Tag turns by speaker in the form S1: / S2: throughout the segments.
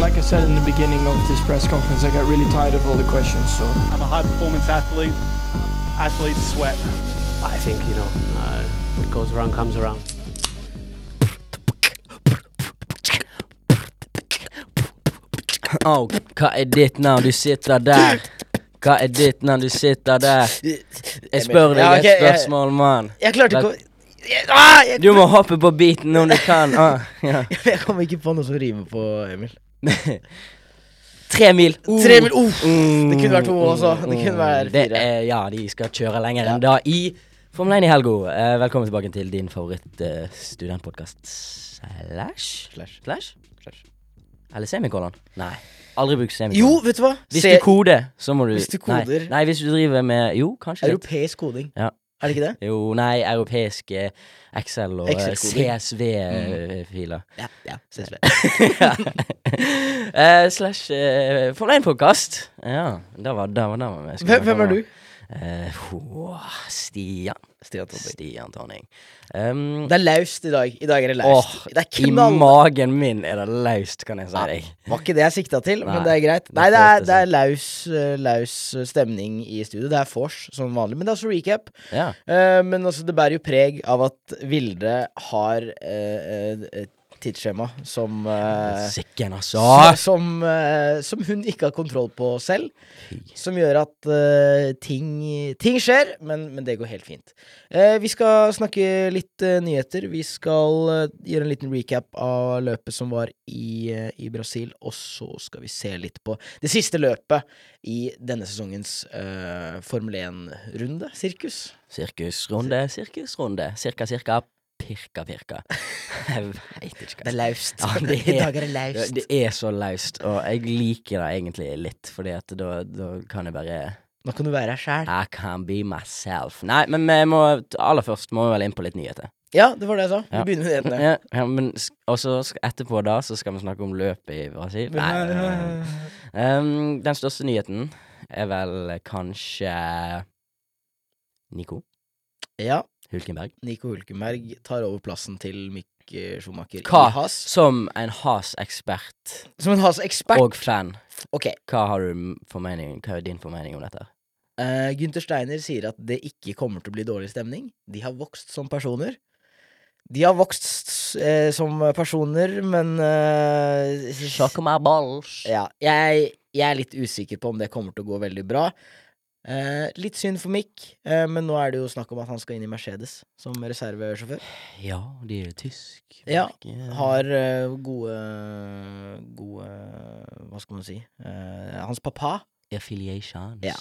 S1: Like I said in the beginning of this press conference, I got really tired of all the questions. So
S2: I'm a high performance athlete. Athletes sweat.
S3: I think, you know, uh, what goes around comes around.
S4: Au, hva er ditt navn? Du sitter der. Hva er ditt navn? Du sitter der. Jeg spør
S5: Ja,
S4: deg
S5: ok,
S4: et
S5: jeg-
S4: spørsmål, mann.
S5: Jeg klarte ikke å
S4: Vet-
S5: Jeg- ah, jeg,
S4: Du må hoppe på beaten om du kan. Ah, ja.
S5: jeg kom ikke på noe som rimer på Emil.
S4: Tre mil. Uh.
S5: Tre mil, uff.
S4: Mm,
S5: Det kunne vært to også.
S4: mm,
S5: Det kunne vært
S4: mm. Det
S5: fire.
S4: er- ja, de skal kjøre lenger
S5: Ja.
S4: enn da i Formel 1 i helga. Eh, velkommen tilbake til din favorittstudentpodkast. Slash?
S5: Slash.
S4: Slash?
S5: Slash.
S4: Eller semikolon? Nei. Aldri bruk semikolon.
S5: Jo, vet du hva?
S4: Hvis
S5: Se-
S4: du koder, så må du
S5: Hvis du
S4: Nei,
S5: koder-
S4: nei, hvis du driver med Jo, kanskje litt.
S5: Europeisk koding.
S4: Ja.
S5: Er det ikke det?
S4: Jo, nei, europeisk eh, Excel og
S5: Excel-koding.
S4: CSV-filer.
S5: Ja. ja ses ved.
S4: Eh, slash eh, Formel 1-podkast. Ja, der var der var, der var vi. Skal
S5: Hvem,
S4: vi
S5: hvem
S4: snakke
S5: er
S4: om
S5: du?
S4: det? Eh, ho, Stian.
S5: Stian Todvik.
S4: Stian Tonning. Um,
S5: Det er laust i dag. I dag er det laust.
S4: åh,
S5: det er
S4: I
S5: knall...
S4: magen min er det laust, kan jeg si
S5: Ja,
S4: deg.
S5: Var ikke det jeg sikta til,
S4: Nei,
S5: men det er greit.
S4: det
S5: Nei, det er,
S4: føltes
S5: det er laus, eh, laus stemning i studio. Det er vors som vanlig, men det er også recap.
S4: Ja.
S5: Eh, men altså, det bærer jo preg av at Vilde har eh, eh, et tidsskjema som eh,
S4: Sikken, altså.
S5: s- som, eh, som hun ikke har kontroll på selv. Som gjør at eh, ting, ting skjer, men, men det går helt fint. Eh, vi skal snakke litt eh, nyheter. Vi skal eh, gjøre en liten recap av løpet som var i, eh, i Brasil. Og så skal vi se litt på det siste løpet i denne sesongens eh, Formel 1-runde, sirkus.
S4: Sirkusrunde, sirkusrunde. Cirka, cirka. Pirka, pirka. Jeg veit ikke hva
S5: Det er laust.
S4: Ja, det er-
S5: I dag er det
S4: Det,
S5: laust.
S4: det er så laust, og jeg liker det egentlig litt, fordi at da, da kan jeg bare
S5: Nå kan du være her sjæl.
S4: I can be myself. Nei, men vi må aller først må vi vel inn på litt nyheter.
S5: Ja, det var det jeg sa. Vi
S4: Ja.
S5: begynner med nyhetene.
S4: Ja, ja, men s- Og så sk- etterpå da så skal vi snakke om løpet i Brasil. Nei. nei, nei. Um, den største nyheten er vel kanskje Nico
S5: Ja,
S4: Hulkenberg.
S5: Nico Hulkenberg tar over plassen til Mick eh, Schumacher
S4: Hva?
S5: i Haas.
S4: Som en Has-ekspert
S5: Som en Haas-ekspert.
S4: og fan,
S5: Ok,
S4: hva har du m- formening, hva er din formening om dette?
S5: eh, Gunther Steiner sier at det ikke kommer til å bli dårlig stemning. De har vokst som personer. De har vokst eh, som personer, men eh,
S4: Suck my balls.
S5: ja, jeg, jeg er litt usikker på om det kommer til å gå veldig bra. Eh, litt synd for Mick, eh, men nå er det jo snakk om at han skal inn i Mercedes som reservesjåfør.
S4: Ja, de er jo tysk.
S5: Ja,
S4: merke.
S5: Har eh, gode Gode Hva skal man si? Eh, hans pappa
S4: Affiliations.
S5: Ja.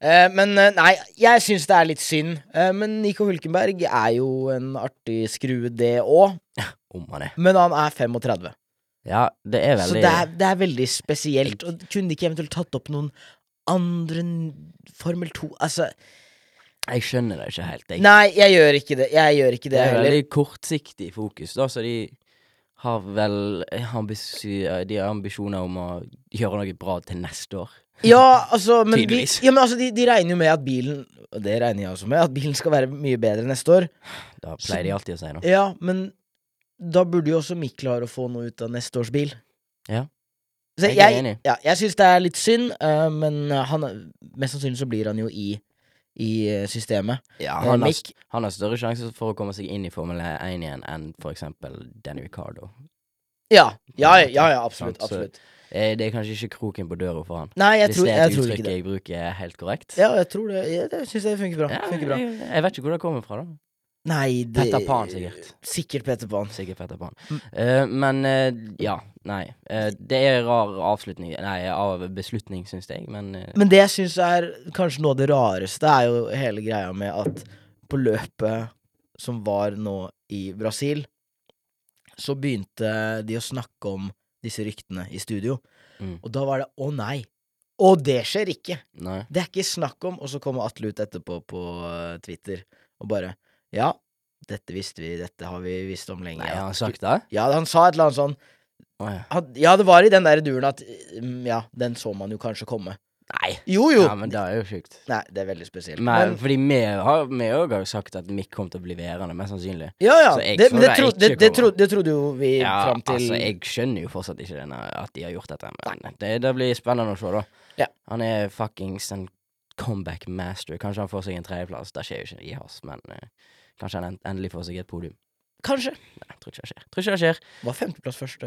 S5: Eh, men eh, nei, jeg syns det er litt synd. Eh, men Nico Hulkenberg er jo en artig skrue, det òg.
S4: Om han er.
S5: Men han er 35,
S4: Ja, det er
S5: så
S4: veldig
S5: det er, det er veldig spesielt. Og kunne de ikke eventuelt tatt opp noen andre n- Formel 2 Altså,
S4: Jeg skjønner det ikke helt. Jeg.
S5: nei, jeg gjør ikke det. Jeg gjør ikke
S4: det
S5: det
S4: er
S5: heller.
S4: veldig kortsiktig fokus, da, så de har vel ambisi de har ambisjoner om å gjøre noe bra til neste år.
S5: Ja, altså, men de,
S4: Tydeligvis.
S5: ja, men altså de, de regner jo med at bilen Og det regner jeg også med, at bilen skal være mye bedre neste år.
S4: Da
S5: Så-
S4: pleier de alltid å si noe.
S5: Ja, men da burde jo også Mikk klare å få noe ut av neste års bil.
S4: Ja.
S5: Så
S4: Jeg
S5: jeg,
S4: er enig.
S5: ja, jeg syns det er litt synd, eh, men eh, han, mest sannsynlig så blir han jo i, i eh, systemet.
S4: Ja,
S5: Eh,
S4: han, har,
S5: Mick-
S4: han har større sjanse for å komme seg inn i Formel 1 igjen enn for eksempel Danny Ricardo.
S5: Ja, ja, ja, ja absolutt.
S4: Sant, så-
S5: absolutt.
S4: Eh, Det er kanskje ikke kroken på døra for han.
S5: Nei, jeg
S4: Hvis
S5: tror,
S4: det er
S5: jeg
S4: et
S5: tror ikke
S4: uttrykk
S5: det.
S4: jeg bruker helt korrekt.
S5: Ja, jeg tror det. Jeg, jeg syns det funker bra.
S4: Ja,
S5: Funker bra.
S4: jeg, jeg vet ikke hvor det kommer fra, da.
S5: Nei, det
S4: Petter Pan, sikkert.
S5: Sikkert Petter Pan.
S4: Sikkert Petter Pan.
S5: Mm.
S4: Eh, men eh, ja, nei. Eh, det er rar avslutning Nei, av beslutning, syns jeg, men eh,
S5: Men det jeg syns er kanskje noe av det rareste, er jo hele greia med at på løpet som var nå i Brasil, så begynte de å snakke om disse ryktene i studio.
S4: Mm.
S5: Og da var det 'å nei'. Og det skjer ikke!
S4: Nei.
S5: Det er ikke snakk om. Og så kommer Atle ut etterpå på eh, Twitter og bare 'ja, dette visste vi, dette har vi visst om lenge'.
S4: Nei,
S5: ja.
S4: har han sagt det?
S5: ja, han sa et eller annet sånn
S4: Å, ja.
S5: han- Ja, det var i den der duren at mm, Ja, den så man jo kanskje komme.
S4: Nei.
S5: Jo, jo.
S4: Ja, men det er jo sjukt.
S5: Nei, det er veldig spesielt.
S4: Men,
S5: Men,
S4: fordi vi har vi òg har jo sagt at Mick kommer til å bli værende, mest sannsynlig.
S5: ja, ja.
S4: Så jeg
S5: Det,
S4: tror
S5: men det,
S4: det
S5: tro,
S4: ikke
S5: det, det, tro,
S4: kommer.
S5: det trodde jo vi
S4: Ja,
S5: fram til
S4: altså, jeg skjønner jo fortsatt ikke denne, at de har gjort dette, men det, det blir spennende å se, da.
S5: Ja.
S4: Han er fuckings en comeback master. Kanskje han får seg en tredjeplass. Det skjer jo ikke i hast, men eh, kanskje han en- endelig får seg et podium.
S5: Kanskje.
S4: Nei, tror ikke det skjer. Tror ikke det skjer.
S5: Var femteplass første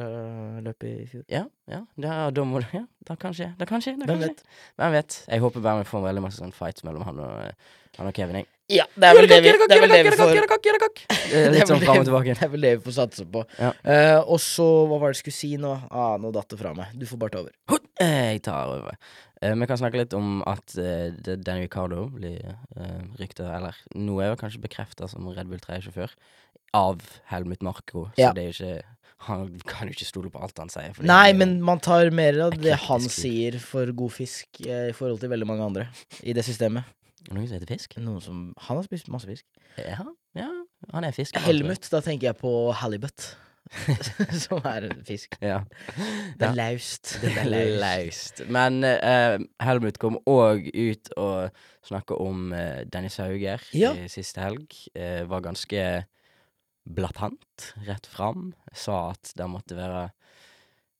S5: løp i fjor.
S4: Ja, ja, det, er- da må Ja, det kan skje. Det kan skje. Det kan
S5: Hvem
S4: skje.
S5: vet?
S4: Hvem vet. Jeg håper bare vi får veldig masse sånn fights mellom han og, eh, han og Kevin, jeg.
S5: Ja, det er vel det vi, det er vel det vi får
S4: Det er Litt
S5: Det er
S4: sånn
S5: vel
S4: fram og
S5: det-
S4: tilbake.
S5: Det er vel det vi får satse på.
S4: Ja.
S5: Eh, og så, hva var det jeg skulle si nå? Ah, nå datt det fra meg. Du får bare ta over.
S4: Eh, Jeg tar over. Eh, Vi kan snakke litt om at eh, det- Danny Ricardo blir eh, ryktet, eller nå er jo kanskje bekreftet som Red Bull 3-sjåfør, av Helmut Marko, så
S5: Ja.
S4: det er jo ikke Han kan jo ikke stole på alt han sier. fordi
S5: Nei,
S4: han er jo-
S5: men man tar mer av
S4: Det er
S5: det han
S4: kritisk.
S5: sier for god fisk eh, i forhold til veldig mange andre i det systemet.
S4: Er det Noen som heter Fisk?
S5: Noen som Han har spist masse fisk.
S4: Ja, ja han er fisk.
S5: Helmut, da tenker jeg på halibut. som er fisk.
S4: Ja.
S5: Det er laust.
S4: Det er laust. Men eh, Helmut kom òg ut og snakka om eh, Dennis Hauger
S5: Ja.
S4: i siste helg. Eh, var ganske blatant rett fram. Sa at det måtte være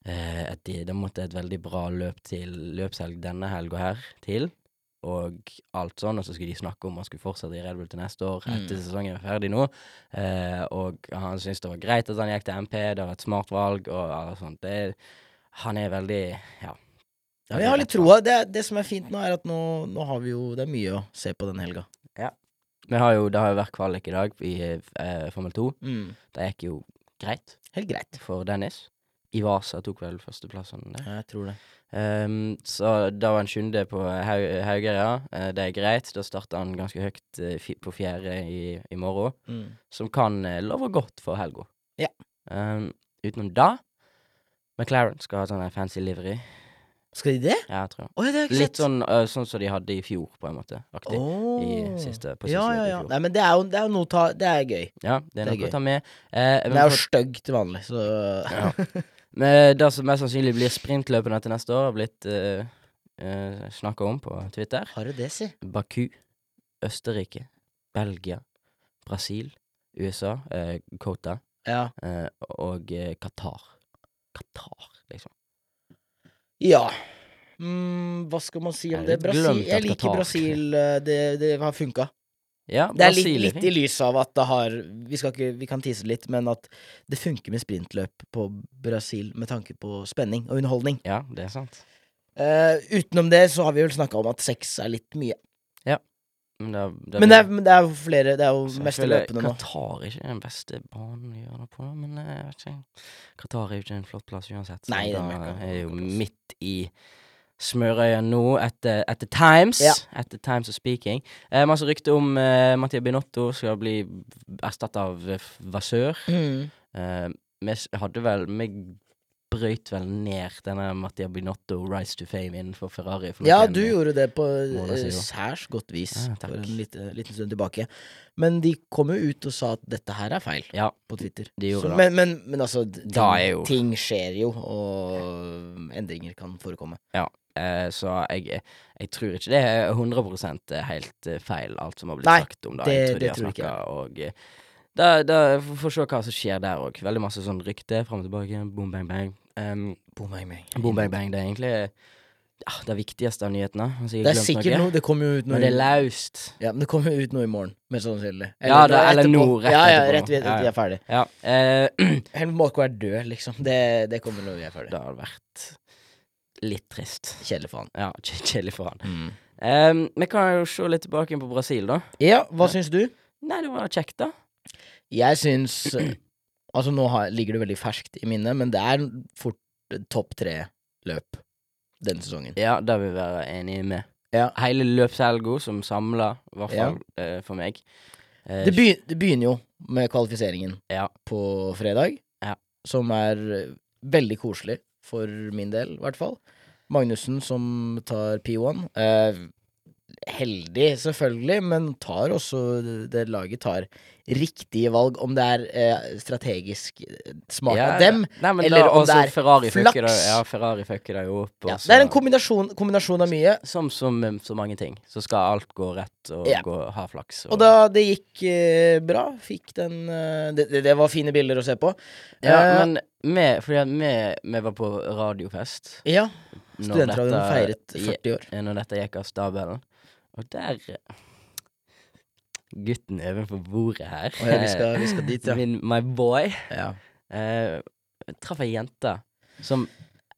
S4: eh, et, Det måtte et veldig bra løp til løpshelg denne helga her til. Og alt sånn, og så skulle de snakke om han skulle fortsette i Red Bull til neste år.
S5: Mm.
S4: Etter sesongen er ferdig nå. Eh, og han syntes det var greit at han gikk til MP, det var et smart valg og alt sånt. Det, han er veldig Ja.
S5: Ja, men jeg har litt troa. Det, er- det som er fint nå, er at nå, nå har vi jo Det er mye å se på den helga.
S4: Vi har jo, det har jo vært kvalik i dag i eh, Formel 2.
S5: Mm.
S4: Det gikk jo greit
S5: Helt greit.
S4: for Dennis. Ivasa tok vel førsteplassen der.
S5: Ja, jeg tror det.
S4: Ehm, så da var han sjunde på Haug Hauger, ja. Eh, det er greit. Da starter han ganske høyt eh, fi- på fjerde i, i morgen,
S5: Mm.
S4: som kan eh, love godt for helga.
S5: Ja.
S4: Ehm, utenom da McLaren skal ha sånn her fancy livery.
S5: Skal de det?
S4: Ja, jeg tror.
S5: Å ja, det har jeg ikke
S4: Litt
S5: sett.
S4: sånn, eh, sånn som de hadde i fjor, på en måte. Aktig.
S5: Åh.
S4: i siste, på siste løpet
S5: Ja, ja,
S4: i
S5: ja.
S4: fjor.
S5: Nei, men det er jo, det er jo noe å ta Det er gøy.
S4: Ja, det er
S5: Det er
S4: noe
S5: gøy.
S4: å ta med. Eh,
S5: Den
S4: men
S5: er jo
S4: for-
S5: stygg til vanlig, så
S4: Ja. Men det som mest sannsynlig blir sprintløpene til neste år, har blitt uh, snakka om på Twitter.
S5: Har du det, si?
S4: Baku, Østerrike, Belgia, Brasil, USA, uh, Kota
S5: Ja.
S4: eh, og eh, Qatar. Qatar, liksom.
S5: ja. Mm, hva skal man si om det?
S4: Jeg har litt
S5: Brasil,
S4: glemt at
S5: jeg liker
S4: Qatar-
S5: Brasil. eh, Det, det har funka.
S4: Ja,
S5: Det er litt,
S4: Brasil
S5: litt i
S4: fint.
S5: lys av at det har Vi, skal ikke, vi kan tise litt, men at det funker med sprintløp på Brasil med tanke på spenning og underholdning.
S4: Ja, det er sant.
S5: Eh, utenom det så har vi vel snakka om at seks er litt mye.
S4: Men det, det,
S5: Men det er, men det er jo flere Det er
S4: så
S5: jo
S4: jeg
S5: mest
S4: føler
S5: løpende nå.
S4: Qatar er ikke den beste banen å gjøre det på, men eh, jeg vet ikke. Qatar er jo ikke en flott plass uansett. Så
S5: Nei, det er en
S4: da
S5: mørka-
S4: er jo
S5: mørka plass.
S4: midt i smørøyet nå, etter, etter Times.
S5: Ja.
S4: Etter Times og Speaking. Eh, masse rykter om eh, Mattia Binotto skal bli erstatta av eh, Vasør.
S5: Mm.
S4: Eh, vi s- hadde vel Vi brøyt vel ned denne Mattia Binotto Rise to Fame innenfor Ferrari. for noe
S5: Ja,
S4: igjen.
S5: du gjorde det på
S4: måneder
S5: eh,
S4: siden.
S5: særs godt vis
S4: Ja, takk.
S5: for en liten, liten stund tilbake. Men de kom jo ut og sa at dette her er feil,
S4: Ja,
S5: på Twitter.
S4: de gjorde
S5: Så,
S4: det.
S5: men, men, men altså, d- ting,
S4: Da er jo-
S5: ting skjer jo, og endringer kan forekomme.
S4: Eh, så jeg, jeg tror ikke det er 100 helt eh, feil, alt som har blitt
S5: Nei,
S4: sagt om det.
S5: det-
S4: Jeg tror
S5: det
S4: de har
S5: tror jeg ikke.
S4: snakka og eh, da, da f- Får se hva som skjer der òg. Veldig masse sånn rykte fram og tilbake. Boom, bang, bang. Em,
S5: Boom, bang, bang.
S4: boom, bang, bang. Det er egentlig ja, det viktigste av nyhetene. Jeg har sikkert
S5: Det er
S4: glemt
S5: sikkert
S4: noe,
S5: noe, det kommer jo ut noe
S4: Men det er
S5: i-
S4: laust.
S5: ja, men det kommer jo ut noe i morgen, mest sannsynlig.
S4: Ja, det- eller
S5: etterpå.
S4: nå, rett
S5: ja, ja,
S4: etterpå.
S5: rett ved
S4: Ja,
S5: at
S4: ja.
S5: vi er ferdig.
S4: Ja. Eh,
S5: Helmut Marko er død, liksom. Det, det kommer når vi er ferdig.
S4: det har vært litt trist.
S5: Kjedelig for han.
S4: Ja, k- kjedelig for han. Em, vi kan jo se litt tilbake inn på Brasil, da.
S5: Ja, hva syns du?
S4: Nei, det var kjekt, da.
S5: Jeg syns Altså, nå har, ligger det veldig ferskt i minnet, men det er fort topp tre-løp denne sesongen.
S4: Ja, det vil jeg være enig med.
S5: Ja.
S4: Hele løpshelga som samla, i hvert
S5: Ja.
S4: fall eh, for meg. Eh,
S5: Det, begy- det begynner jo med kvalifiseringen
S4: Ja.
S5: på fredag,
S4: Ja.
S5: som er eh, veldig koselig for min del, i hvert fall. Magnussen som tar P1. Eh, heldig, selvfølgelig, men tar også det laget tar riktige valg, om det er eh, strategisk eh, smart
S4: Ja,
S5: av dem.
S4: Nei, men
S5: eller
S4: da,
S5: om
S4: også
S5: det er
S4: Ferrari fucker
S5: flaks.
S4: det- Ja, Ferrari fucker det jo opp.
S5: Ja,
S4: og
S5: det er en
S4: så-
S5: kombinasjon, kombinasjon av mye.
S4: Som som med så mange ting. Så skal alt gå rett og
S5: Ja.
S4: gå, ha flaks.
S5: Og da det gikk eh, bra, fikk den eh, det, det, det var fine bilder å se på.
S4: ja,
S5: Eh,
S4: men vi, fordi at vi, vi var på radiofest
S5: ja
S4: når
S5: Studentradioen
S4: dette-
S5: feiret 40 år.
S4: eh, når dette gikk av stabelen. Og der eh, Gutten ovenfor bordet her, eh,
S5: Å ja, vi, skal, vi skal dit, ja.
S4: min, my boy,
S5: Ja,
S4: eh, traff ei jente som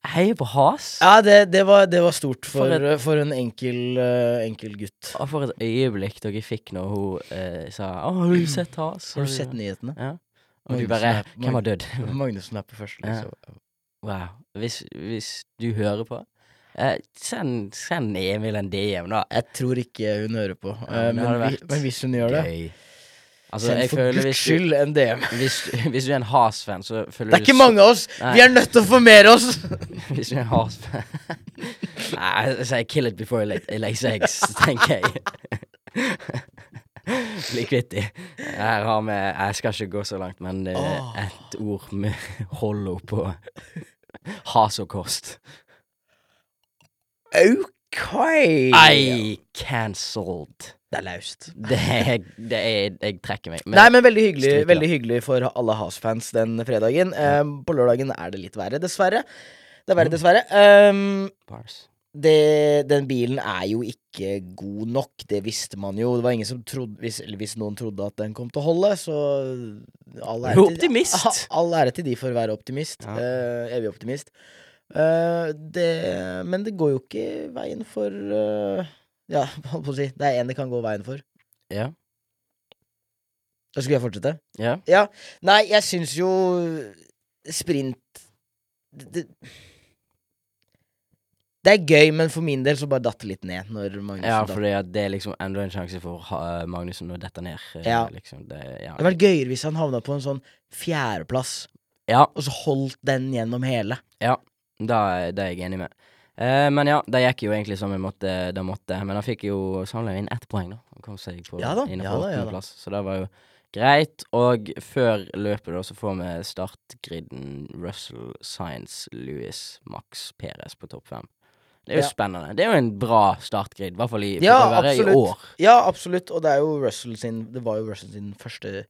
S4: heier på has.
S5: ja det, det, var, det var stort for,
S4: For
S5: for,
S4: et-
S5: en enkel, eh, enkel gutt.
S4: Og for et øyeblikk dere fikk når hun eh, sa Å, har du sett has?
S5: Har du sett nyhetene?
S4: Ja. Og du
S5: Magnus
S4: bare
S5: er-
S4: Hvem har dødd?
S5: Magnussen er på første.
S4: Ja.
S5: så-
S4: Wow. Hvis, hvis du hører på, eh, send, send Emil en DM, da.
S5: Jeg tror ikke hun hører på,
S4: Ja,
S5: eh,
S4: men det
S5: men,
S4: hadde
S5: vi,
S4: vært
S5: men hvis hun gjør det
S4: Gøy. Altså,
S5: Send
S4: jeg
S5: for
S4: føler
S5: guds
S4: hvis du,
S5: skyld en DM.
S4: hvis, hvis du er en has-fan, så føler
S5: Det er
S4: du så-
S5: ikke mange av oss!
S4: Nei.
S5: Vi er nødt til å formere oss!
S4: Hvis du er en has-fan Nei, jeg sier kill it before it lay- it lays eggs, tenker jeg. Bli kvitt de. Her har vi Jeg skal ikke gå så langt, men det er
S5: Åh.
S4: ett ord med hollo på. Has og kost.
S5: Ok!
S4: I cancelled.
S5: Det er laust.
S4: Det er, det er Jeg trekker meg. Men
S5: Nei, men veldig hyggelig,
S4: Stryker, ja.
S5: veldig hyggelig for alle Has-fans den fredagen. Ehm, på lørdagen er det litt verre, dessverre. Det er
S4: Mm.
S5: verre, dessverre. Ehm,
S4: bars.
S5: det, den bilen er jo ikke god nok, det visste man jo. Det var ingen som trodde Hvis, eller hvis noen trodde at den kom til å holde, så all
S4: Du er
S5: ære til-
S4: optimist.
S5: Ha- All ære til de for å være optimist.
S4: Ja.
S5: Eh, evig optimist. Eh, det, men det går jo ikke veien for eh, Ja, holdt på å si. Det er én det kan gå veien for.
S4: Ja.
S5: Da Skulle jeg fortsette?
S4: Ja.
S5: Ja. Nei, jeg syns jo sprint det, det er gøy, men for min del så bare datt det litt ned når Magnus
S4: Ja,
S5: datt.
S4: fordi at det er liksom enda en sjanse for ha, Magnussen å dette ned. eh,
S5: Ja.
S4: Liksom. Det, ja.
S5: Det hadde vært gøyere hvis han havna på en sånn fjerdeplass,
S4: ja,
S5: og så holdt den gjennom hele.
S4: da, er- det er jeg enig med. Eh, men ja, det gikk jo egentlig som jeg måtte, det måtte. Men han fikk jo samla inn ett poeng, da. Han kom seg på,
S5: Ja da,
S4: inn på
S5: ja da, ja da.
S4: åttendeplass, så det var jo greit. Og før løpet, da, så får vi startgriden Russell, Science, Lewis, Max, Perez på topp fem. Det er jo
S5: Ja.
S4: spennende. Det er jo en bra startgrid, i hvert fall i, for
S5: Ja,
S4: å være i
S5: absolutt.
S4: år.
S5: Ja, absolutt, og det er jo Russell sin Det var jo Russell sin første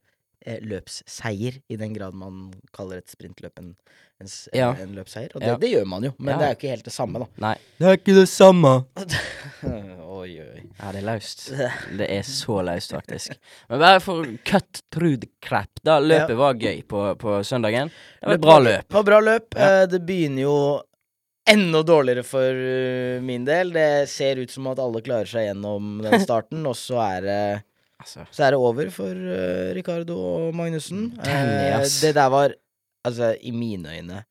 S5: eh, løpsseier, i den grad man kaller et sprintløp en, en, s-
S4: Ja.
S5: en løpsseier. Og det,
S4: Ja.
S5: det gjør man jo, men
S4: Ja.
S5: det er jo ikke helt det samme, da.
S4: Nei.
S1: Det er ikke det samme.
S5: oi, oi.
S4: Ja, det er løst. Det er så løst, faktisk. Men bare for cut through the crap. Da løpet var gøy på, på søndagen. Det var et bra løp.
S5: Det var bra løp.
S4: Ja.
S5: Eh, Det begynner jo enda dårligere for eh, min del. Det ser ut som at alle klarer seg gjennom den starten, og så er det
S4: Altså,
S5: så er det over for eh, Ricardo og Magnussen.
S4: Danny,
S5: Eh,
S4: ass.
S5: det der var Altså, i mine øyne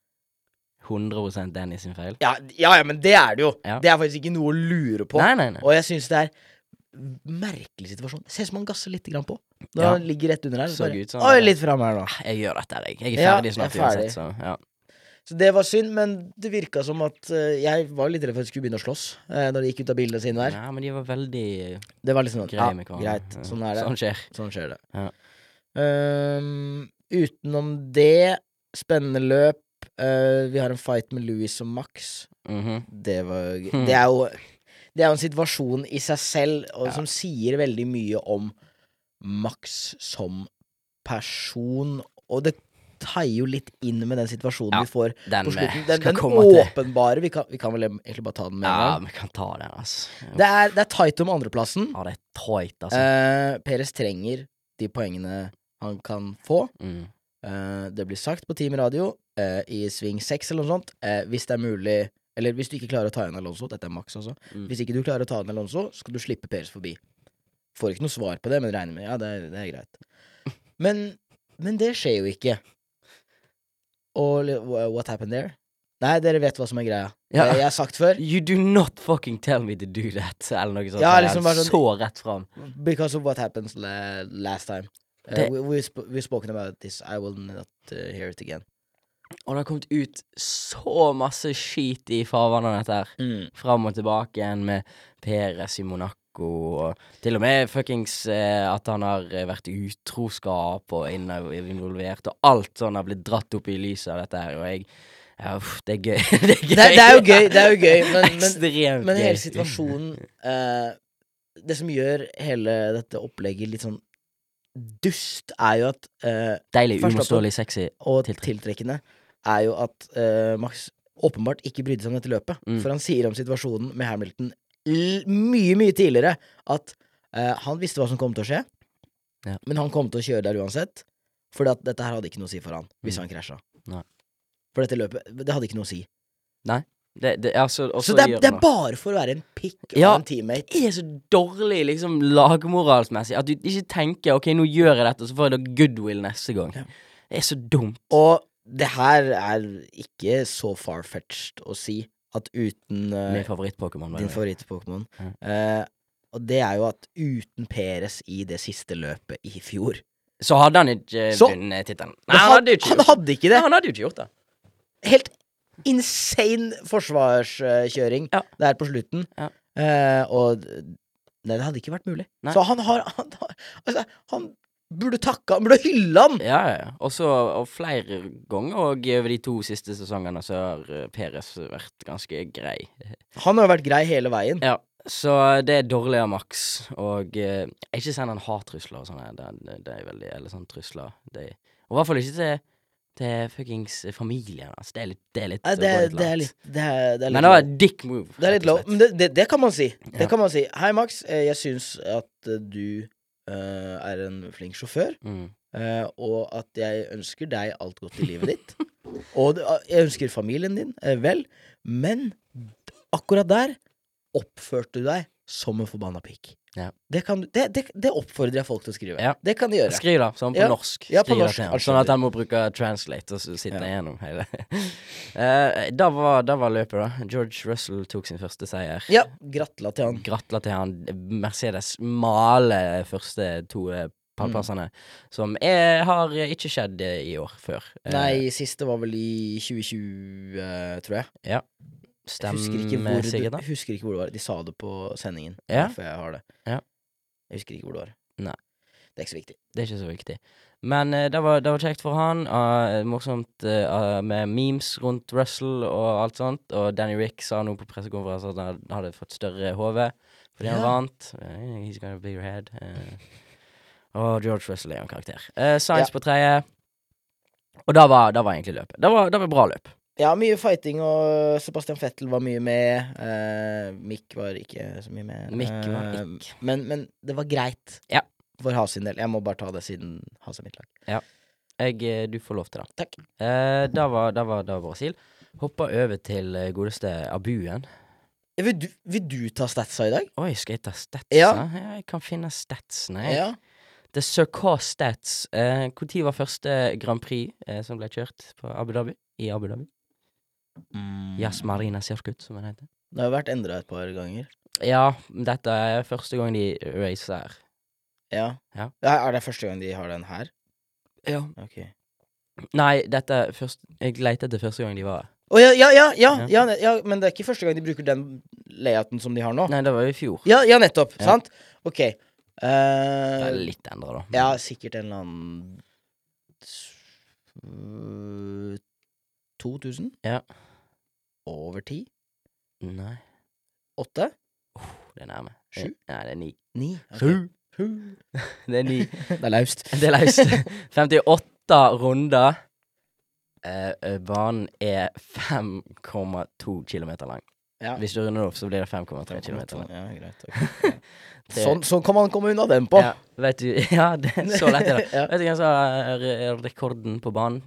S4: 100 Danny sin feil.
S5: Ja, ja, ja men det er det jo!
S4: Ja.
S5: Det er faktisk ikke noe å lure på.
S4: Nei, nei, nei.
S5: Og jeg syns det er merkelig situasjon. Det ser ut som han gasser litt grann på. Når
S4: Ja.
S5: han ligger rett under her. Så
S4: Så
S5: bare,
S4: ut som han
S5: Oi,
S4: bare-
S5: litt fram her nå.
S4: Jeg gjør dette, jeg. Jeg er
S5: Ja,
S4: ferdig snart
S5: jeg er ferdig.
S4: uansett, så ja.
S5: Så det var synd, men det virka som at eh, Jeg var litt redd for at de skulle begynne å slåss eh, når de gikk ut av bilene sine der.
S4: Nei, men de var veldig
S5: Det var liksom sånn
S4: greie
S5: Ja,
S4: med hverandre.
S5: greit.
S4: Ja.
S5: Sånn er det.
S4: Sånn skjer.
S5: Sånn skjer det.
S4: Ja.
S5: Ehm, utenom det, spennende løp. Eh, vi har en fight med Louis og Max.
S4: Mhm.
S5: Det var gøy.
S4: Hmm.
S5: Det er jo Det er jo en situasjon i seg selv og, som sier veldig mye om Max som person, og det taier jo litt inn med den situasjonen
S4: Ja.
S5: vi får
S4: Den
S5: på
S4: eh,
S5: slutten. Den,
S4: skal
S5: den
S4: komme til
S5: åpenbare vi kan, vi kan vel egentlig bare ta den med en
S4: Ja,
S5: gang.
S4: vi kan ta den, altså.
S5: Det er, det er tight om andreplassen.
S4: Ja, det er tøyt, altså.
S5: Eh, Peres trenger de poengene han kan få.
S4: Mm.
S5: Eh, det blir sagt på Team Radio eh, i sving 6 eller noe sånt. Eh, hvis det er mulig Eller hvis du ikke klarer å ta igjen Alonso, dette er maks, altså.
S4: Mm.
S5: Hvis ikke du klarer å ta igjen Alonso, skal du slippe Peres forbi. Får ikke noe svar på det, men regner med Ja, det, er- det er greit. Men, men det skjer jo ikke. Og li- wha- what happened there? Nei, dere vet hva som er greia.
S4: Ja.
S5: Det Eh, jeg har sagt før.
S4: You do not fucking tell me to do that, eller noe sånt.
S5: Ja,
S4: Det er
S5: liksom bare sånn-
S4: Så rett fram.
S5: Because of what happens la last time. Uh,
S4: Det-
S5: we, we sp we've spoken about this. I will not uh, hear it again.
S4: Og det har kommet ut så Mm. masse skit i farvannet av dette her. Fram og tilbake igjen med Peres i Monaco narko og Til og med fuckings eh, at han har eh, vært utroskap og inno- involvert, og alt sånn har blitt dratt opp i lyset av dette her, og jeg ja, uff, det er gøy. det, er gøy.
S5: Det, er- det er jo gøy, det er jo gøy men, men,
S4: Ekstremt
S5: Men
S4: gøy.
S5: hele situasjonen eh, Det som gjør hele dette opplegget litt sånn dust, er jo at eh,
S4: Deilig,
S5: Først opp-
S4: uimotståelig, sexy.
S5: Og
S4: Tiltrekkende.
S5: tiltrekkende er jo at eh, Max åpenbart ikke brydde seg om dette løpet.
S4: Mm.
S5: For han sier om situasjonen med Hamilton l mye, mye tidligere at eh, han visste hva som kom til å skje,
S4: Ja.
S5: men han kom til å kjøre der uansett. For at dette her hadde ikke noe å si for han hvis
S4: Mm.
S5: han krasja.
S4: Nei.
S5: For dette løpet Det hadde ikke noe å si.
S4: Det, det, altså, og
S5: Så det er,
S4: gjør
S5: det
S4: han
S5: er bare for å være en pikk
S4: Ja.
S5: og en teammate.
S4: det er så dårlig liksom lagmoralsmessig at du ikke tenker OK, nå gjør jeg dette, så får jeg da goodwill neste gang.
S5: Ja.
S4: Det er så dumt.
S5: Og det her er ikke så far-fetched å si at uten eh,
S4: Min favoritt-Pokémon. by the
S5: din
S4: way.
S5: favoritt-Pokémon
S4: Mm.
S5: eh, Og det er jo at uten Peres i det siste løpet i fjor
S4: Så hadde han ikke eh,
S5: Så-
S4: vunnet tittelen.
S5: Men
S4: Nei, han hadde jo ikke
S5: han
S4: gjort det.
S5: hadde ikke det.
S4: Nei, han hadde jo ikke gjort det.
S5: Helt insane forsvarskjøring
S4: Ja.
S5: der på slutten.
S4: Ja.
S5: Eh, og Nei, det hadde ikke vært mulig.
S4: Nei.
S5: Så han har Han, har- altså, han burde takka Han burde hylla han!
S4: Ja, ja, ja. Og så og flere ganger og over de to siste sesongene så har eh, Perez vært ganske grei.
S5: Han har jo vært grei hele veien.
S4: Ja, så eh, det er dårlig av Max. Og eh, ikke send han hattrusler og sånne. Det, det, det er veldig Eller sånne trusler. Det, og i hvert fall ikke til, til fuckings familien hans. Det er litt Det er litt,
S5: Nei, det,
S4: går litt
S5: det er
S4: langt.
S5: litt Det er, det er litt
S4: Men det var et dick move.
S5: Det er
S4: rett
S5: litt
S4: og
S5: low.
S4: slett.
S5: Men det, det, det kan man si. Det
S4: Ja.
S5: kan man si. Hei, Max. eh, Jeg syns at eh, du eh, er en flink sjåfør,
S4: Mm.
S5: eh, og at jeg ønsker deg alt godt i livet ditt. og det- ah, jeg ønsker familien din eh, vel, men akkurat der oppførte du deg som en forbanna pikk.
S4: Ja.
S5: Det, kan, du- det, det, det oppfordrer jeg folk til å skrive.
S4: Ja.
S5: Det kan de gjøre.
S4: Skriv det, sånn på
S5: Ja.
S4: norsk.
S5: Ja, på
S4: Skriv det
S5: norsk,
S4: til han,
S5: alt
S4: Sånn at
S5: skjønner.
S4: han må bruke translate og så sitte
S5: Ja.
S4: igjennom hele. Eh, da, var, da var løpet, da. George Russell tok sin første seier.
S5: Ja, gratla til han.
S4: Gratulerer til han. Mercedes male første to eh,
S5: Mm.
S4: pallplassene, som er, har eh, ikke skjedd eh, i år før. Eh,
S5: Nei, siste var vel i 2020, eh, tror jeg. Jeg
S4: Stemmer
S5: husker ikke, hvor
S4: sikkert,
S5: det,
S4: eh, da.
S5: husker ikke hvor det var. De sa det på sendingen.
S4: Ja.
S5: Derfor jeg har det.
S4: Ja.
S5: Jeg husker ikke hvor det var.
S4: Nei.
S5: Det er ikke så viktig.
S4: Det er ikke så viktig. Men eh, det, var, det var kjekt for han. og morsomt eh, ah, med memes rundt Russell og alt sånt. Og Danny Rick sa nå på pressekonferanse at han had- hadde fått større hode fordi han
S5: Ja.
S4: vant. Eh, He's got a bigger head. eh. og George Russell er jo en karakter. Uh, Science
S5: Ja.
S4: på tredje. Og da var, da var egentlig løpet. Det var, da var bra løp.
S5: Ja, mye fighting, og Sebastian Fettel var mye med. eh, Mick var ikke så mye med.
S4: Mick var
S5: Eh,
S4: ikke.
S5: men, men det var greit.
S4: Ja.
S5: For Haas sin del. Jeg må bare ta det siden Haas er mitt lag.
S4: Jeg, eh, du får lov til det.
S5: Takk.
S4: Eh, da, var, da, var, da var Brasil. Hoppa over til eh, godeste Abuen.
S5: Eh, Vil du, vil du ta statsa i dag?
S4: Oi, skal jeg ta statsa?
S5: Ja.
S4: jeg kan finne statsene. jeg. The Circa Stats. Eh, Når var første Grand Prix eh, som ble kjørt på Abu Dhabi? I Abu Dhabi?
S5: Mm.
S4: Yas Marina Circuit, som den heter.
S5: Det har jo vært endra et par ganger.
S4: Ja, dette er første gang de racer her.
S5: Ja.
S4: Ja.
S5: Er det første gang de har den her?
S4: Ja.
S5: Ok.
S4: Nei, dette er først, jeg lette etter første gang de var her.
S5: Å ja, ja, ja, ja,
S4: Ja.
S5: ja, ne- ja, men det er ikke første gang de bruker den layouten som de har nå.
S4: Nei, det var jo i fjor.
S5: Ja, ja nettopp.
S4: Ja.
S5: Sant? Ok. Eh,
S4: Det er litt endra, da.
S5: ja, sikkert en eller annen øh, 2000?
S4: Ja.
S5: Over 10?
S4: Nei,
S5: 8?
S4: det er nærme. Eh,
S5: Sju?
S4: Nei, det er ni.
S5: 9?
S4: Det er ni.
S5: Det er laust.
S4: Det er løst. 58 runder. Eh, eh, banen er 5,2 km lang.
S5: Ja.
S4: Hvis du runder det opp, så blir det 5,3 km lang.
S5: Ja, greit. ok.
S4: Det-
S5: Sånn, sånn kan man komme unna den på.
S4: Ja, vet du, ja det, så lett er det.
S5: Ja.
S4: Vet du hvem som har re- rekorden på banen?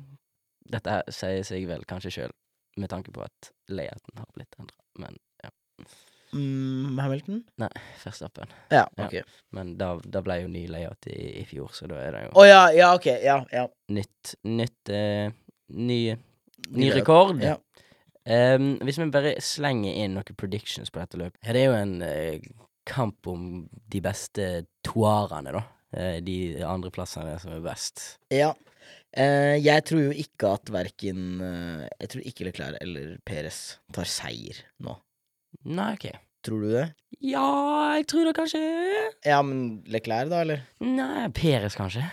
S4: Dette her sier seg vel kanskje sjøl, med tanke på at layouten har blitt endra. Men
S5: Mm, Hamilton?
S4: nei, Verstappen.
S5: Ja,
S4: Ja.
S5: ok. Å
S4: Men da, da ble jo ny layout i, i fjor, så da er det jo
S5: ja, ja, ok. Ja, ja.
S4: nytt, nytt eh, ny, ny
S5: layout.
S4: rekord.
S5: Ja.
S4: Ehm, hvis vi bare slenger inn noen predictions på dette løpet Her er jo en eh, kamp om de beste toarene, da. Eh, de andreplassene som er best.
S5: Ja. Eh, jeg tror jo ikke at verken eh, Jeg tror ikke Leclerc eller Perez tar seier nå.
S4: Nei, OK.
S5: Tror du det?
S4: Ja, jeg tror det kanskje
S5: Ja, men Leclerc, da, eller?
S4: Nei, Peres kanskje.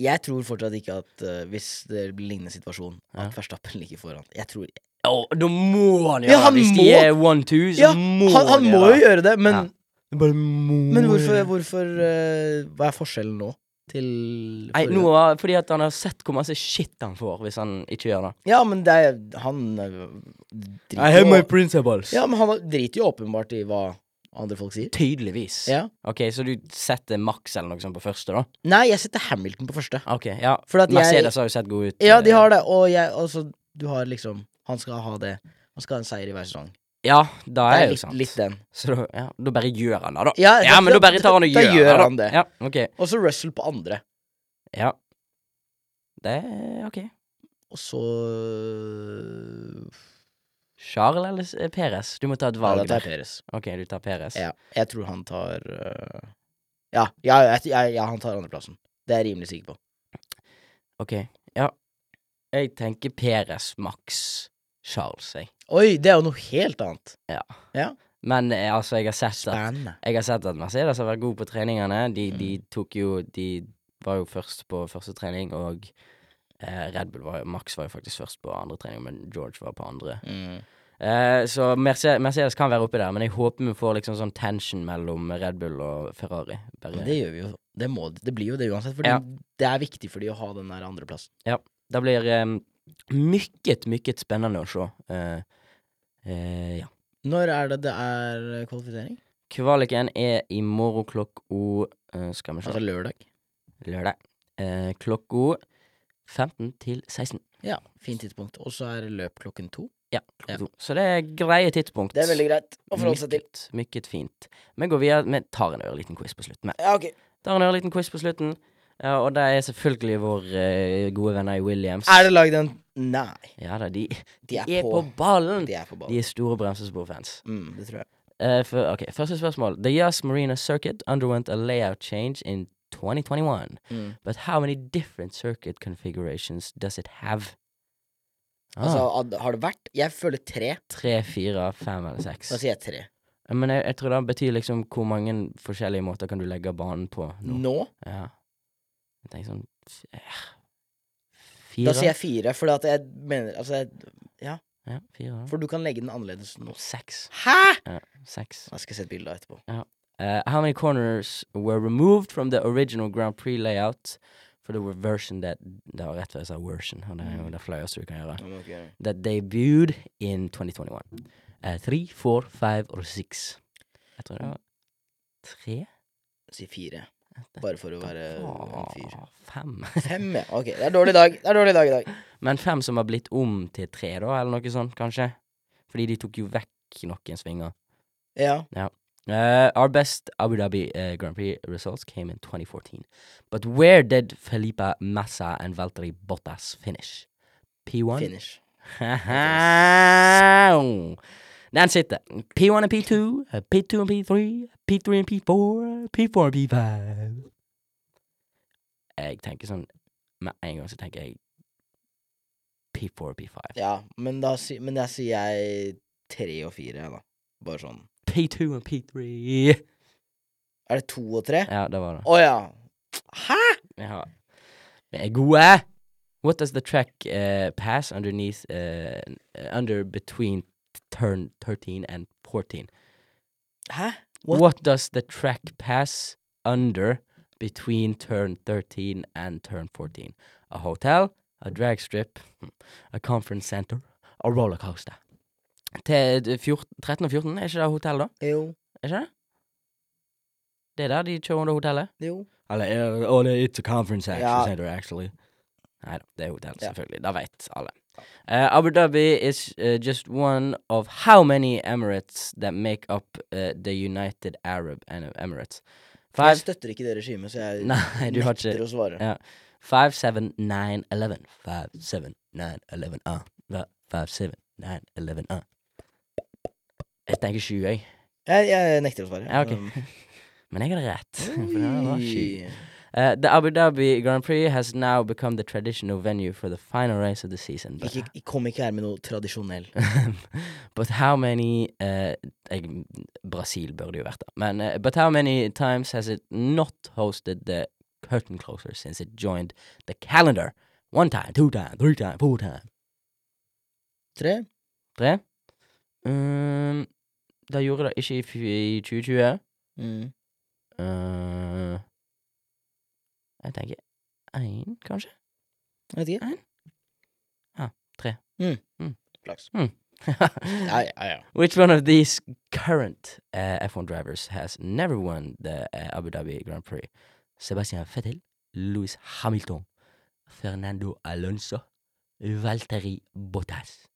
S5: Jeg tror fortsatt ikke at eh, hvis det blir lignende situasjon,
S4: Ja.
S5: at Verstappen ligger foran. Jeg tror
S4: Å, da må han gjøre
S5: Ja, han
S4: det! Hvis de
S5: må-
S4: er one-two, så
S5: Ja,
S4: må
S5: han, han må
S4: gjøre
S5: jo
S4: det.
S5: gjøre det, men,
S4: Ja. Bare må
S5: men
S4: gjøre
S5: hvorfor,
S4: det.
S5: hvorfor eh, Hva er forskjellen nå til
S4: Nei,
S5: forrige?
S4: nå var Fordi at han har sett hvor masse shit han får hvis han ikke gjør det.
S5: Ja, men det er Han eh, driter jo-
S4: principles.
S5: Ja, men han driter jo åpenbart i hva andre folk sier.
S4: Tydeligvis.
S5: Ja.
S4: Ok, Så du setter Max eller noe sånt på første, da?
S5: Nei, jeg setter Hamilton på første.
S4: Ok, ja.
S5: For at jeg-
S4: Mercedes har jo sett god ut.
S5: Ja, de
S4: eh,
S5: har det, og jeg Altså, du har liksom Han skal ha det. Han skal ha en seier i hver sesong.
S4: Ja, da er,
S5: Det er
S4: jo
S5: litt,
S4: sant.
S5: litt den.
S4: Så da, ja, da bare gjør han det, da.
S5: Ja,
S4: Ja, men da bare tar han og
S5: da
S4: gjør,
S5: gjør
S4: det, da.
S5: han det.
S4: Ja, ok.
S5: Og så Russell på andre.
S4: Ja. Det er ok.
S5: Og så øh,
S4: Charles eller eh, Perez? Du må ta et
S5: Nei,
S4: valg
S5: da tar jeg
S4: der.
S5: Perez.
S4: Ok, du tar Perez.
S5: Ja, jeg tror han tar øh, ja, ja, jeg- jeg- ja, han tar andreplassen. Det er jeg rimelig sikker på.
S4: Ok, ja. Jeg tenker Perez, Max, Charles, jeg.
S5: Oi, det er jo noe helt annet.
S4: Men eh, altså, jeg har sett at
S5: Spennende. Mm.
S4: Jeg har sett at Mercedes har vært god på treningene. De, de tok jo De var jo først på første trening, og eh, Red Bull var, Max var jo faktisk først på andre trening, men George var på andre.
S5: Mm.
S4: Eh, så Mercedes, Mercedes kan være oppi der, men jeg håper vi får liksom sånn tension mellom Red Bull og Ferrari. Bare,
S5: Men det gjør vi jo. Det, må, det blir jo det uansett, Fordi
S4: Ja.
S5: det er viktig for de å ha den der andreplassen.
S4: det blir eh, mykket, mykket spennende å se. Eh, eh, ja.
S5: Når er det det er øh, kvalifisering?
S4: Kvaliken er i morgen klokka eh, Skal vi se
S5: Altså lørdag.
S4: Lørdag. Eh, klokka 15 til 16.
S5: Ja, fint tidspunkt. Og så er det løp klokken to.
S4: Ja,
S5: Ja.
S4: klokka to. Så det er greie tidspunkt.
S5: Det er veldig greit å forholde seg til.
S4: Mykket, mykket fint. Vi går videre. Vi tar en ørliten quiz på slutten. vi.
S5: Ja, ok.
S4: Tar en ørliten quiz på slutten. Ja, og det er selvfølgelig våre eh, gode venner i Williams.
S5: Er det lagd en Nei.
S4: Ja da, de
S5: De er,
S4: er
S5: på.
S4: på ballen!
S5: De er på ballen.
S4: De er store bremsesporfans.
S5: Mm, det tror jeg.
S4: Eh, for, ok, Første spørsmål. The Yas Marina Circuit underwent a layout change in 2021.
S5: Mm.
S4: But how many different circuit configurations does it have? Ah,
S5: Altså, ad- har det vært Jeg føler tre.
S4: tre, fire, fem eller seks.
S5: Da sier jeg tre.
S4: Men jeg, jeg tror det betyr liksom hvor mange forskjellige måter kan du legge banen på nå.
S5: Nå?
S4: Ja. Jeg tenker sånn f- eh, Fire?
S5: Da sier jeg fire, for at jeg mener Altså, jeg,
S4: Ja, fire.
S5: for du kan legge den annerledes nå.
S4: Seks.
S5: Hæ?!
S4: Ja, seks.
S5: Jeg skal se et bilde av etterpå.
S4: Uh, how many corners were removed from the original Grand Prix layout? For the version that Det var rett før jeg sa version, og det er
S5: Mm.
S4: jo det flaueste du kan gjøre.
S5: Nå må du ikke gjøre det.
S4: That debuted in 2021. Uh, three, four, five or six. Jeg tror det var tre.
S5: Si fire. Bare for å være Eh, en fyr.
S4: Åh, Fem.
S5: Fem, ja. Ok, det er dårlig dag. Det er dårlig dag i dag.
S4: Men fem som har blitt om til tre, da, eller noe sånt, kanskje? Fordi de tok jo vekk noen svinger.
S5: Ja.
S4: Uh, our best Abu Dhabi uh, Grand Prix results came in 2014. But where did Felipe Massa and Valtteri Bottas finish? P1?
S5: Finish.
S4: Den sitter. P1 and P2, uh, P2 and P3, P3 and P4, P4 and P5. Jeg tenker sånn Med en gang så tenker jeg P4 og P5.
S5: Ja, men da si, men da sier jeg tre og fire, jeg, da. Bare sånn.
S4: P2 og P3.
S5: Er det to og tre? Å
S4: Ja, det var det.
S5: ja. Hæ?!
S4: Ja. Vi er gode! What does the track uh, pass underneath uh, Under between turn 13 and 14?
S5: Hæ?
S4: What?
S5: What?
S4: does the track pass under between turn 13 and turn 14? A hotel, a drag strip, hmm, a conference center, a roller coaster. Til 14, 13 og 14, er ikke det hotell, da?
S5: Jo.
S4: Er ikke det? Det er der de kjører under hotellet?
S5: Jo.
S4: Eller, eh, oh, det- it's a conference action
S5: Ja.
S4: center, actually. Nei da, det er hotell,
S5: Ja.
S4: selvfølgelig. Det vet alle. Eh, Abu Dhabi is eh, just one of how many Emirates that make up eh, the United Arab Em- Emirates? Five,
S5: Jeg støtter ikke det regimet, så jeg
S4: nei, du har
S5: nekter
S4: ikke
S5: å svare.
S4: Ja. Five, seven, nine, eleven. Five, seven, nine, eleven, ah. Hva? Five, seven, nine, eleven, ah. Jeg tenker sju, jeg.
S5: Jeg, jeg nekter å svare.
S4: Ja, ok.
S5: Um,
S4: Men jeg hadde rett. For det var sju.
S5: oi.
S4: Eh, Uh, the Abu Dhabi Grand Prix has now become the traditional venue for the final race of the season. But,
S5: Ikke, kom ikke her med noe tradisjonell.
S4: but how many uh, jeg, Brasil burde jo vært der. Men uh, but how many times has it not hosted the curtain closer since it joined the calendar? One time, two time, three time, four time.
S5: Tre?
S4: Tre. Um, da gjorde det ikke i, f- i 2020.
S5: Mm.
S4: Uh, jeg tenker én, kanskje?
S5: Jeg vet ikke. Mm. Flaks. Ja, ja, ja.
S4: Which one of these current uh, F1 drivers has never won the uh, Abu Dhabi Grand Prix? Sebastian Vettel, Lewis Hamilton, Fernando Alonso, Valtteri Bottas.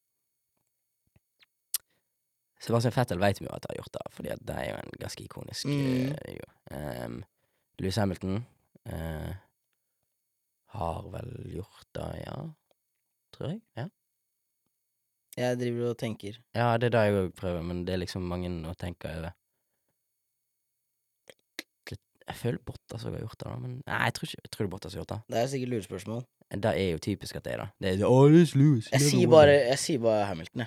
S4: Sebastian Vettel vet vi jo at har gjort det, fordi at det er jo en ganske ikonisk
S5: Mm.
S4: eh, video. Ehm, Lewis Hamilton eh, har vel gjort det, ja. Tror jeg. Ja.
S5: Jeg driver og tenker.
S4: Ja, det er det jeg òg prøver, men det er liksom mange å tenke over. Det- Jeg føler Bottas òg har gjort det, da, men Nei, jeg tror ikke jeg tror det er Bottas som har gjort
S5: Det er sikkert lurespørsmål.
S4: det. Det er jo typisk at det er det. Det er det, oh, it's Lewis. he
S5: Jeg
S4: never
S5: sier
S4: won
S5: bare,
S4: it."
S5: jeg sier bare Hamilton, jeg.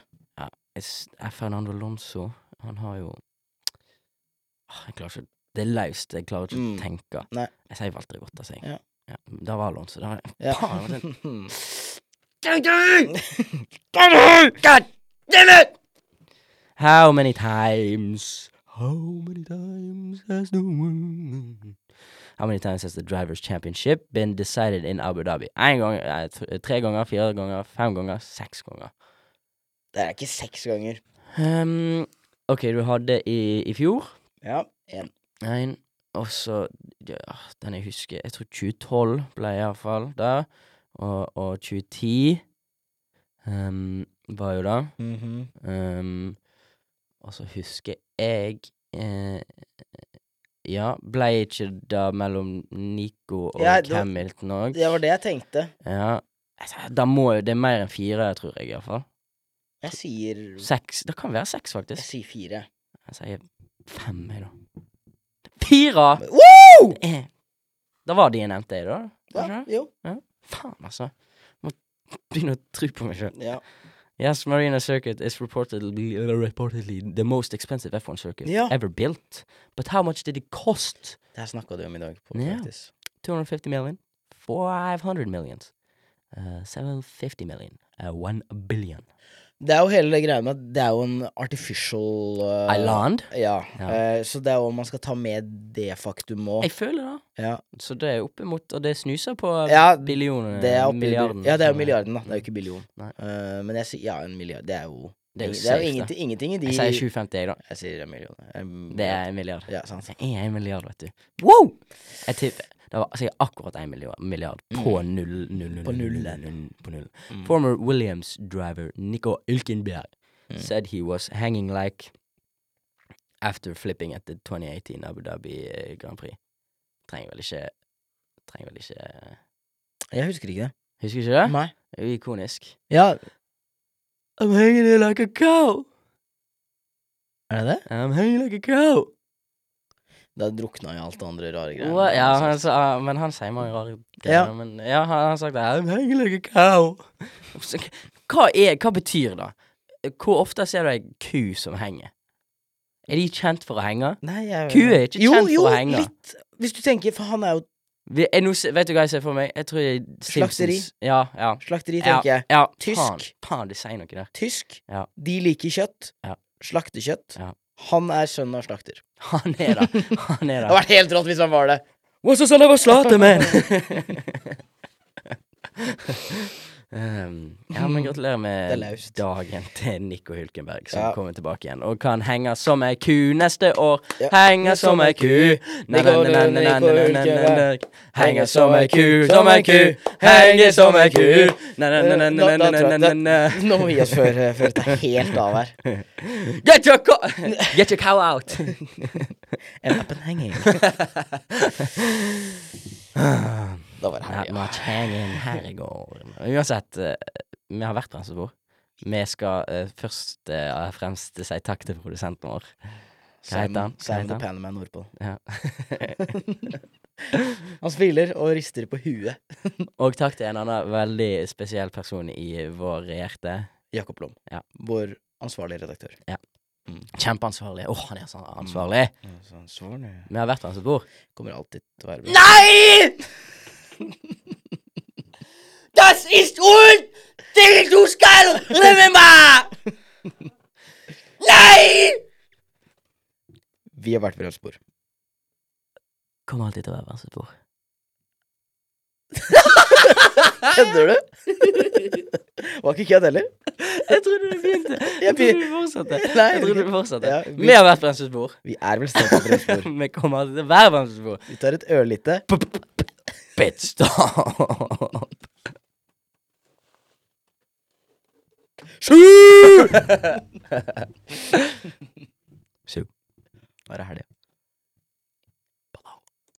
S4: It's- eh, Fernando Alonso, han har jo Ah, Jeg klarer ikke Det er løst, jeg klarer ikke
S5: Mm.
S4: å tenke.
S5: Nei.
S4: Jeg sier Valtteri Bottas, jeg.
S5: Ja.
S4: Ja, det var Alonso. Det var det.
S5: Ja.
S4: Faen, det var How many times? How many times has the world? How many times has the drivers' championship been decided in Abu Dhabi? En gang, eh, t- tre ganger, fire ganger, fem ganger, seks ganger.
S5: Det er ikke seks ganger.
S4: Ehm, ok, du hadde i, i fjor
S5: Ja, en.
S4: en, og så ja, Den jeg husker Jeg tror 2012 ble iallfall der. Og, og 2010 ehm, var jo det.
S5: Mhm.
S4: Um, og så husker jeg eh, Ja, ble ikke det mellom Nico og
S5: Ja, det var-
S4: Hamilton òg?
S5: Det var det jeg tenkte.
S4: Ja. Altså, da må jo Det er mer enn fire, tror jeg, iallfall.
S5: Jeg sier,
S4: Seks. Det kan være seks,
S5: jeg
S4: faktisk.
S5: sier fire.
S4: Jeg sier fem, jeg, da. Fire!
S5: Wow!
S4: Det er- Da var de jeg nevnte, jeg, da.
S5: Ja,
S4: Kanskje?
S5: jo.
S4: Faen, altså. Må begynne å tro på meg sjøl.
S5: Ja.
S4: Yes, Marina Circuit is reportedly, reportedly the most expensive F1 circuit
S5: Ja.
S4: ever built. But how much did it cost?
S5: Det her snakka du om i dag på
S4: Ja.
S5: Praktis.
S4: 250 million, 500 million, uh, 750 million, uh, 1 billion.
S5: Det er jo hele det greia med at det er jo en artificial eh,
S4: Island?
S5: Ja.
S4: Ja.
S5: eh, så det er jo om man skal ta med det faktum òg.
S4: Jeg føler det.
S5: Ja.
S4: Så det er oppimot, og det snuser på
S5: Ja,
S4: billioner,
S5: Det er oppi-
S4: milliarden.
S5: Ja, det er jo milliarden, da. Det er jo ikke billion.
S4: Nei.
S5: Eh, men jeg sier ja, en milliard. Det er jo
S4: Det er jo
S5: jo
S4: safe,
S5: ingenting, ingenting i de
S4: Jeg sier 750, jeg, da.
S5: Jeg sier en million. En
S4: Det
S5: milliard.
S4: er en milliard.
S5: Ja, sant.
S4: Det er en milliard, vet du. Wow! Jeg tipper det var sikkert akkurat en milliard, milliard på null, null, null,
S5: Mm. På
S4: null,
S5: nullen.
S4: null, på null.
S5: Mm.
S4: Former Williams driver Nico Ylkenberg
S5: Mm.
S4: said he was hanging like after flipping at the 2018 Abu Dhabi eh, Grand Prix. Trenger vel ikke Trenger vel ikke eh,
S5: Jeg husker ikke det.
S4: Husker ikke det?
S5: Nei.
S4: Det er jo ikonisk.
S5: Ja,
S4: I'm hanging there like a cow.
S5: er det det?
S4: I'm hanging like a cow.
S5: Da drukna jo alt det andre rare greiene. altså.
S4: Hva- Ja, han sa, ah, men han sier mange rare
S5: Ja.
S4: greier. Men ja, han har sagt det. I'm hanging like a cow. Så k- Hva, er, hva betyr det? Hvor ofte ser du ei ku som henger? Er de kjent for å henge?
S5: Nei, jeg
S4: Ku er ikke kjent for å henge.
S5: Jo, jo, litt. Hvis du tenker, for han er jo
S4: Vi, jeg, nå, se- vet du hva jeg ser for meg? Jeg tror det er Simpsons.
S5: Slakteri.
S4: Ja, ja.
S5: slakteri,
S4: ja,
S5: tenker jeg.
S4: ja.
S5: Tysk.
S4: Faen, faen, de sier noe der.
S5: Tysk.
S4: Ja.
S5: De liker kjøtt.
S4: Ja.
S5: Slaktekjøtt.
S4: Ja.
S5: Han er sønn av slakter.
S4: Han er det. Han er det.
S5: Det hadde vært helt rått hvis han var det.
S4: What's the son of a slaughter, man? um, ja, men gratulerer
S5: Det er
S4: med
S5: laust.
S4: dagen til Nico Hulkenberg, som
S5: Ja.
S4: kommer tilbake igjen og kan henge som ei ku neste år.
S5: Ja.
S4: Henge som ei ku. Na, na, na, na, na, na, na, na, na, na. Henge som ei ku, som ei ku. Henge som ei ku. Na, na,
S5: Eh,
S4: na, na, na, na, na, na, na.
S5: Nå må vi gi oss før, eh, før det er helt av her.
S4: Get your, co get your cow out!
S5: En appen hanging. Da var
S4: Ah.
S5: det
S4: Nei,
S5: her,
S4: vi
S5: ja.
S4: har Changen Herregård. Uansett, eh, vi har vært Bremsebord. Vi skal eh, først eh, og fremst si takk til produsenten vår. Hva heter han? Hva
S5: Sam
S4: heter
S5: the
S4: han?
S5: Panaman nordpå.
S4: Ja.
S5: Han smiler og rister på huet.
S4: Og takk til en annen veldig spesiell person i vår regjerte.
S5: Jakob Lom,
S4: Ja.
S5: vår ansvarlige redaktør.
S4: Mm. Kjempeansvarlig. Åh, han er så ansvarlig.
S5: Altså, ansvarlig
S4: Vi har vært altså, ved hans bord.
S5: Kommer alltid til å være bra.
S4: Nei! Das ist und det du skal remember! Nei!
S5: Vi har vært på rødt spor.
S4: Kommer alltid til å være altså, ved hans bord.
S5: Kødder du? Var ikke kødd heller.
S4: Jeg trodde du begynte. Jeg trodde du fortsatte.
S5: Nei,
S4: Jeg trodde du fortsatte.
S5: Ja, vi-
S4: vi... har vært ved hans bord.
S5: Vi er vel snart på rødt spor.
S4: Vi kommer alltid til å være ved hans bord.
S5: Vi tar et ørlite
S4: Bitch, stop.
S5: Skjul!